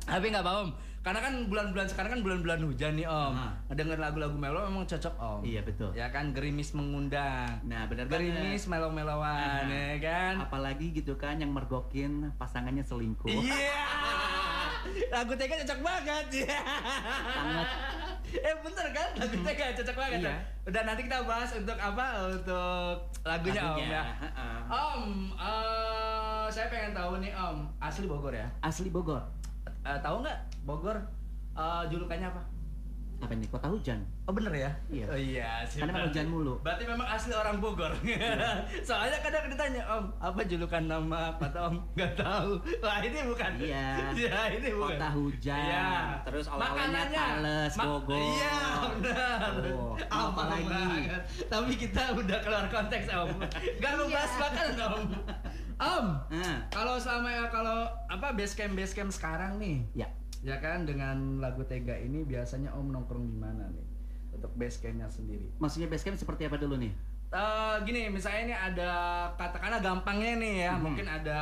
Speaker 1: Tapi nggak apa Om, karena kan bulan-bulan sekarang kan bulan-bulan hujan nih Om.
Speaker 2: Aha.
Speaker 1: Dengar lagu-lagu melo memang cocok
Speaker 2: Ah.
Speaker 1: Om.
Speaker 2: iya betul
Speaker 1: Ya kan gerimis mengundang.
Speaker 2: nah benar banget
Speaker 1: Gerimis melau-melauan
Speaker 2: Aha.
Speaker 1: ya kan.
Speaker 2: apalagi gitu kan yang mergokin pasangannya selingkuh
Speaker 1: Iya. Lagu TK cocok banget. Iya.
Speaker 2: Sangat.
Speaker 1: Eh bentar kan lagu TK cocok banget. ya?
Speaker 2: Iya.
Speaker 1: Udah nanti kita bahas untuk apa untuk lagunya, Om ya.
Speaker 2: heeh.
Speaker 1: Om, eh, saya pengen tahu nih Om, asli Bogor ya.
Speaker 2: asli Bogor
Speaker 1: Eh, tahu nggak Bogor eh, julukannya apa?
Speaker 2: apa nih kota hujan
Speaker 1: Oh bener ya?
Speaker 2: Iya.
Speaker 1: Oh iya sih.
Speaker 2: Karena memang Iya.
Speaker 1: berarti-
Speaker 2: hujan mulu.
Speaker 1: Berarti memang asli orang Bogor. Soalnya kadang ditanya Om, apa julukan nama kata Om? Gak tahu. Wah ini bukan.
Speaker 2: Iya.
Speaker 1: Iya ini bukan. Iya.
Speaker 2: Kota hujan. Terus oleh-olehnya
Speaker 1: Makanannya.
Speaker 2: Tales, Bogor.
Speaker 1: Iya benar.
Speaker 2: Oh,
Speaker 1: apa
Speaker 2: apa lagi?
Speaker 1: banget. Tapi kita udah keluar konteks Om.
Speaker 2: Iya.
Speaker 1: Gak lu bahas makanan Om. Om,
Speaker 2: Ah,
Speaker 1: kalau selama kalau apa base camp base camp sekarang nih,
Speaker 2: ya
Speaker 1: Ya kan dengan lagu Tega ini biasanya Om nongkrong di mana nih? Untuk base campnya sendiri.
Speaker 2: maksudnya basecamp seperti apa dulu nih
Speaker 1: Eh gini, misalnya ini ada katakanlah gampangnya nih ya,
Speaker 2: Mhm.
Speaker 1: mungkin ada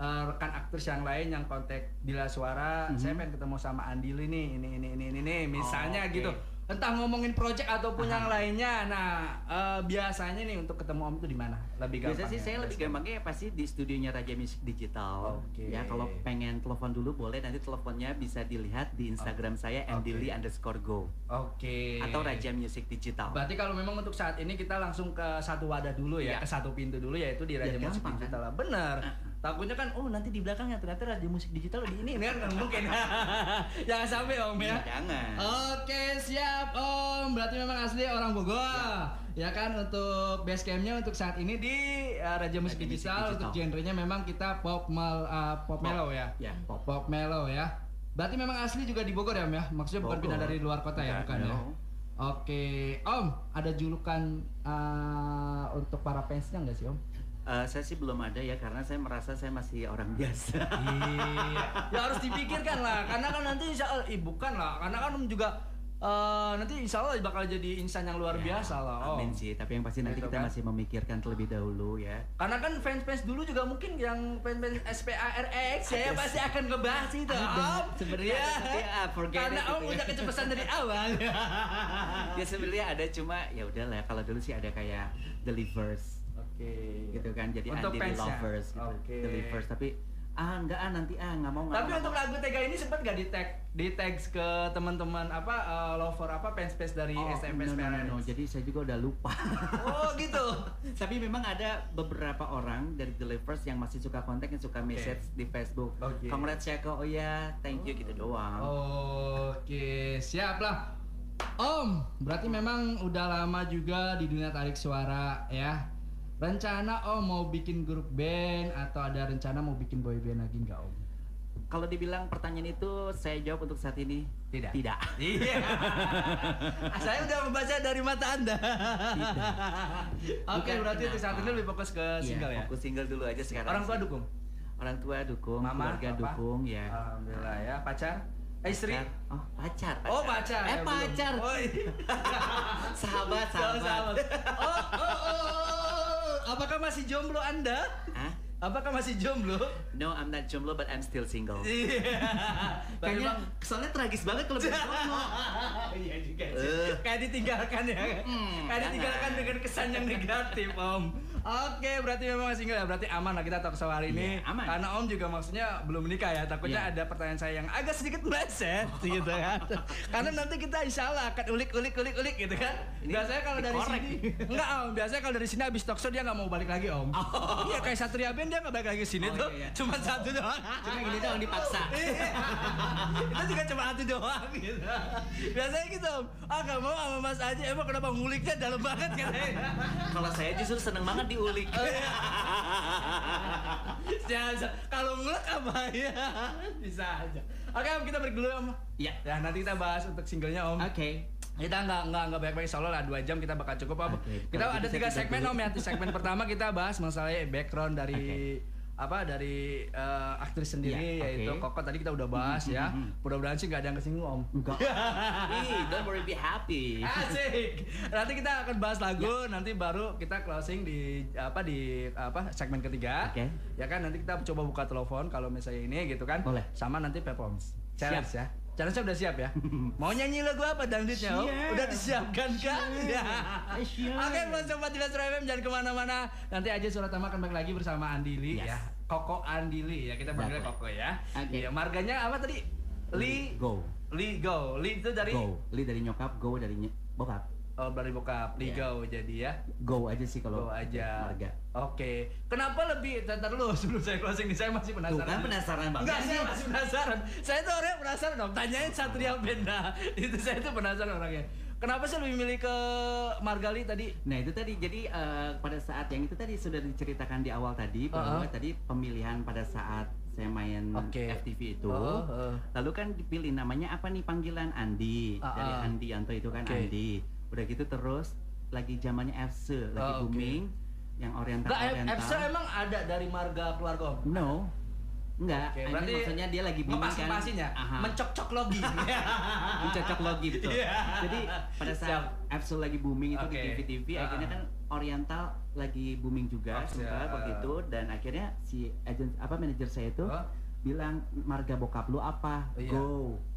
Speaker 1: eh, rekan aktris yang lain yang kontak Dila Suara,
Speaker 2: Mhm.
Speaker 1: saya pengen ketemu sama Andili nih, ini ini ini ini, ini misalnya
Speaker 2: Oh, oke.
Speaker 1: gitu. Entah ngomongin project ataupun yang lainnya. Nah, eh, biasanya nih untuk ketemu Om tuh di mana? Lebih gampang.
Speaker 2: Biasanya sih
Speaker 1: ya,
Speaker 2: saya lebih
Speaker 1: base camp.
Speaker 2: gampangnya pasti di studionya Raja Music Digital.
Speaker 1: Oke.
Speaker 2: Ya kalau pengen telepon dulu boleh nanti teleponnya bisa dilihat di Instagram saya andili underscore go
Speaker 1: Oke.
Speaker 2: atau Raja Music Digital.
Speaker 1: Berarti kalau memang untuk saat ini kita langsung ke satu wadah dulu ya,
Speaker 2: Iya.
Speaker 1: ke satu pintu dulu yaitu di
Speaker 2: Biar
Speaker 1: Raja Musik
Speaker 2: gampang, kan?
Speaker 1: Digital. lah. Benar. Takutnya kan oh nanti di belakangnya ternyata Raja Musik Digital di ini ini kan nggak mungkin. Jangan sampai Om ya.
Speaker 2: Iya, Jangan.
Speaker 1: Oke siap Om, berarti memang asli orang Bogor
Speaker 2: Iya.
Speaker 1: ya, kan untuk base campnya untuk saat ini di uh, Raja Musik
Speaker 2: Raja Musik
Speaker 1: Digital, untuk
Speaker 2: Digital.
Speaker 1: genrenya memang kita pop mel, uh, pop mellow ya,
Speaker 2: Ya, pop.
Speaker 1: pop mellow ya. Berarti memang asli juga di Bogor ya Om ya, maksudnya
Speaker 2: Bogor.
Speaker 1: bukan pindah dari luar kota ya, bukan ya?
Speaker 2: no.
Speaker 1: Oke, Om, ada julukan eh, untuk para fansnya nggak sih Om?
Speaker 2: Eh, saya sih belum ada ya karena saya merasa saya masih orang biasa.
Speaker 1: Iya, ya harus dipikirkan lah, karena kan nanti insya Allah, ih, bukan lah, karena kan Om juga eh, nanti insya Allah bakal jadi insan yang luar
Speaker 2: Ya,
Speaker 1: biasa lah Om.
Speaker 2: Amin sih, tapi yang pasti nanti
Speaker 1: Gitu
Speaker 2: kita
Speaker 1: kan.
Speaker 2: masih memikirkan terlebih dahulu ya.
Speaker 1: Karena kan fans-fans dulu juga mungkin yang fans-fans SPARX ya pasti akan ngebahas itu
Speaker 2: Ada,
Speaker 1: Om.
Speaker 2: sebenarnya
Speaker 1: Iya.
Speaker 2: ada, tapi, ah, forget
Speaker 1: karena
Speaker 2: it
Speaker 1: Om
Speaker 2: gitu ya.
Speaker 1: udah kecepatan dari awal.
Speaker 2: Ya sebenarnya ada cuma ya udahlah kalau dulu sih ada kayak delivers
Speaker 1: Oke.
Speaker 2: gitu kan jadi
Speaker 1: Iya. Untuk
Speaker 2: anti
Speaker 1: fansnya.
Speaker 2: lovers gitu
Speaker 1: Oke.
Speaker 2: delivers tapi ah enggak ah nanti ah nggak mau nggak
Speaker 1: Tapi
Speaker 2: mau.
Speaker 1: untuk lagu Tega ini sempat gak di tag di tag ke teman-teman apa eh, lover apa fans fans dari
Speaker 2: Oh,
Speaker 1: SMP
Speaker 2: no, no, no, no. jadi saya juga udah lupa
Speaker 1: Oh gitu.
Speaker 2: tapi memang ada beberapa orang dari delivers yang masih suka kontak yang suka message di Facebook
Speaker 1: Oke. Oh.
Speaker 2: Congrats ya kok oh ya thank you gitu doang
Speaker 1: Oke, siap lah. Om, berarti memang udah lama juga di dunia tarik suara ya. Rencana Om mau bikin grup band atau ada rencana mau bikin boy band lagi nggak Om?
Speaker 2: kalau dibilang pertanyaan itu saya jawab untuk saat ini
Speaker 1: Tidak.
Speaker 2: tidak
Speaker 1: Iya. Saya udah membaca dari mata Anda. Oke,
Speaker 2: Bukan
Speaker 1: berarti untuk saat ini
Speaker 2: kenapa.
Speaker 1: lebih fokus ke
Speaker 2: Iya,
Speaker 1: single ya.
Speaker 2: fokus single dulu aja sekarang
Speaker 1: Orang tua
Speaker 2: sih.
Speaker 1: dukung.
Speaker 2: orang tua dukung
Speaker 1: Mama,
Speaker 2: keluarga
Speaker 1: papa?
Speaker 2: dukung ya
Speaker 1: Alhamdulillah ya, pacar? Eh, istri?
Speaker 2: Pacar. oh pacar,
Speaker 1: Oh, pacar.
Speaker 2: eh
Speaker 1: ya, belum.
Speaker 2: pacar
Speaker 1: Oh, iya.
Speaker 2: sahabat
Speaker 1: Sahabat.
Speaker 2: sahabat
Speaker 1: Oh, oh, oh, oh, oh. Apakah masih jomblo Anda?
Speaker 2: Hah?
Speaker 1: Apakah masih jomblo?
Speaker 2: No, I'm not jomblo, but I'm still single.
Speaker 1: Iya.
Speaker 2: Kayaknya
Speaker 1: Kayaknya
Speaker 2: soalnya tragis banget kalau bilang jomblo.
Speaker 1: Iya juga
Speaker 2: Eh.
Speaker 1: sih.
Speaker 2: Hmm, iya,
Speaker 1: Kayak ditinggalkan ya.
Speaker 2: Mm-mm,
Speaker 1: Kayak ditinggalkan
Speaker 2: jangan.
Speaker 1: dengan kesan yang negatif, Om. Oke, berarti memang masih single ya. Berarti aman lah kita talk show hari ini.
Speaker 2: Iya, aman.
Speaker 1: Karena Om juga maksudnya belum menikah ya. Takutnya
Speaker 2: Iya.
Speaker 1: ada pertanyaan saya yang agak sedikit meleset gitu kan. Karena nanti kita insya Allah akan ulik-ulik-ulik-ulik gitu kan.
Speaker 2: Ini
Speaker 1: biasanya kalau dari
Speaker 2: dikorek
Speaker 1: sini
Speaker 2: nih.
Speaker 1: enggak Om, biasanya kalau dari sini habis talk show dia nggak mau balik lagi, Om. Iya, kayak Satria Ben dia nggak balik lagi ke sini
Speaker 2: Oh,
Speaker 1: tuh.
Speaker 2: iya, iya.
Speaker 1: Cuma satu doang.
Speaker 2: Cuma gini doang dipaksa.
Speaker 1: Itu Iya. juga cuma satu doang gitu. Biasanya gitu, Om. ah gak mau sama Mas Aji, emang kenapa nguliknya dalam banget katanya.
Speaker 2: Kalau saya justru seneng banget diulik.
Speaker 1: Oh, Jangan, kalau ngulek apa ya? Bisa aja. Oke Om, kita break dulu Om.
Speaker 2: Iya.
Speaker 1: Ya nanti kita bahas untuk singlenya Om.
Speaker 2: Oke.
Speaker 1: Kita nggak nggak nggak banyak-banyak solo lah dua jam kita bakal cukup Om.
Speaker 2: Oke,
Speaker 1: Kita
Speaker 2: kalau gitu
Speaker 1: ada
Speaker 2: saya
Speaker 1: tiga
Speaker 2: tidak
Speaker 1: segmen
Speaker 2: dulu.
Speaker 1: Om ya. Segmen pertama kita bahas masalah background dari apa dari eh, aktris sendiri
Speaker 2: Iya,
Speaker 1: yaitu
Speaker 2: oke.
Speaker 1: Koko tadi kita udah bahas
Speaker 2: Mhm,
Speaker 1: ya.
Speaker 2: mhm, mhm.
Speaker 1: Mudah-mudahan sih nggak ada yang kesinggung Om.
Speaker 2: Enggak. Ih, don't worry, be happy.
Speaker 1: Asik. Nanti kita akan bahas lagu,
Speaker 2: Ya.
Speaker 1: nanti baru kita closing di apa di apa segmen ketiga.
Speaker 2: Oke.
Speaker 1: Ya kan nanti kita coba buka telepon kalau misalnya ini gitu kan.
Speaker 2: Boleh.
Speaker 1: Sama nanti performance.
Speaker 2: Siap.
Speaker 1: Challenge ya. Challenge udah siap ya. Mau nyanyi lagu apa dangdutnya? Om?
Speaker 2: Siap. Eh,
Speaker 1: Udah disiapkan kan? Ya.
Speaker 2: Siap.
Speaker 1: Oke, buat sobat di Laser FM jangan kemana-mana. Nanti aja surat tamak akan balik lagi bersama Andili
Speaker 2: Yes.
Speaker 1: ya. Koko Andili ya kita panggilnya Koko ya.
Speaker 2: Oke.
Speaker 1: Iya, marganya apa tadi? Li
Speaker 2: Go.
Speaker 1: Li Go. Li itu dari
Speaker 2: Go. Li dari nyokap, go dari nye- bokap.
Speaker 1: Oh, dari bokap Ligau jadi ya.
Speaker 2: Go aja sih Iya. kalau
Speaker 1: Go aja.
Speaker 2: marga.
Speaker 1: Oke. Kenapa lebih Ntar dulu sebelum saya closing nih saya masih
Speaker 2: Tuh
Speaker 1: penasaran.
Speaker 2: kan penasaran banget.
Speaker 1: Enggak, saya masih penasaran. Saya tuh orangnya penasaran dong. Tanyain Satria Benda. Itu saya tuh penasaran orangnya. Kenapa saya lebih milih ke Margali tadi?
Speaker 2: Nah itu tadi jadi eh, pada saat yang itu tadi sudah diceritakan di awal tadi bahwa
Speaker 1: Uh-uh.
Speaker 2: tadi pemilihan pada saat saya main
Speaker 1: Oke.
Speaker 2: FTV itu,
Speaker 1: Oh, oh.
Speaker 2: lalu kan dipilih namanya apa nih panggilan Andi
Speaker 1: Uh-uh.
Speaker 2: dari Andi Yanto itu kan
Speaker 1: Oke.
Speaker 2: Andi. Udah gitu terus lagi zamannya FC lagi
Speaker 1: Oh, oke.
Speaker 2: booming yang oriental
Speaker 1: Enggak,
Speaker 2: oriental.
Speaker 1: Epsa emang ada dari marga keluarga Om?
Speaker 2: No, enggak.
Speaker 1: Oke,
Speaker 2: I mean,
Speaker 1: berarti
Speaker 2: maksudnya dia lagi booming kan.
Speaker 1: Ngepas-ngepasin ya?
Speaker 2: Aha.
Speaker 1: Mencok-cok logi.
Speaker 2: Ah, mencocok logi betul.
Speaker 1: Iya.
Speaker 2: Jadi pada
Speaker 1: Siap.
Speaker 2: saat Absol lagi booming itu
Speaker 1: Oke.
Speaker 2: di TV-TV,
Speaker 1: Ah.
Speaker 2: akhirnya kan Oriental lagi booming juga
Speaker 1: Oh,
Speaker 2: sempat
Speaker 1: siap.
Speaker 2: waktu itu dan akhirnya si agent apa manajer saya itu
Speaker 1: Oh.
Speaker 2: bilang marga bokap lu apa?
Speaker 1: Oh, iya.
Speaker 2: Go.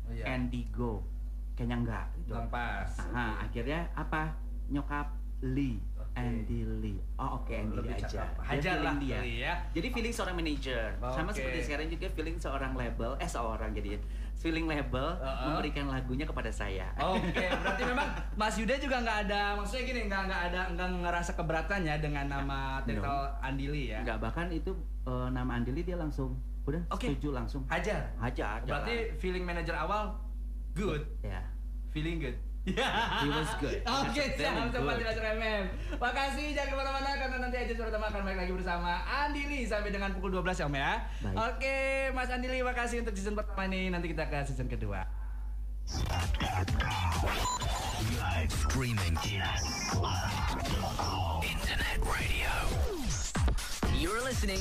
Speaker 1: Oh, iya.
Speaker 2: Andy go. Kayaknya enggak gitu.
Speaker 1: Bang pas.
Speaker 2: Nah, akhirnya apa? Nyokap Lee.
Speaker 1: Oke.
Speaker 2: Andy Lee. Oh oke Andy
Speaker 1: Lebih
Speaker 2: Lee aja.
Speaker 1: cakep.
Speaker 2: Dia
Speaker 1: Hajar lah
Speaker 2: feeling dia.
Speaker 1: kali ya.
Speaker 2: Jadi feeling seorang manajer sama
Speaker 1: Oke.
Speaker 2: seperti sekarang juga feeling seorang label eh seorang jadi feeling label
Speaker 1: Uh-uh.
Speaker 2: memberikan lagunya kepada saya.
Speaker 1: Oke, berarti memang Mas Yuda juga nggak ada, maksudnya gini nggak nggak ada nggak ngerasa keberatan ya dengan nama title Andili ya?
Speaker 2: Enggak bahkan itu eh, nama Andili dia langsung udah
Speaker 1: Oke.
Speaker 2: setuju langsung.
Speaker 1: Hajar.
Speaker 2: Aja aja.
Speaker 1: Berarti feeling manager awal good,
Speaker 2: ya.
Speaker 1: feeling good. Ya.
Speaker 2: He was good.
Speaker 1: Oke,
Speaker 2: He was
Speaker 1: siap
Speaker 2: very
Speaker 1: tempat
Speaker 2: good.
Speaker 1: di Laser MM. Makasih jangan kemana-mana karena nanti aja surat akan balik lagi bersama Andili sampai dengan pukul 12 ya Om ya.
Speaker 2: Baik.
Speaker 1: Oke, Mas Andili makasih untuk season pertama ini. Nanti kita ke season kedua.
Speaker 3: Live streaming. Internet radio. You're listening.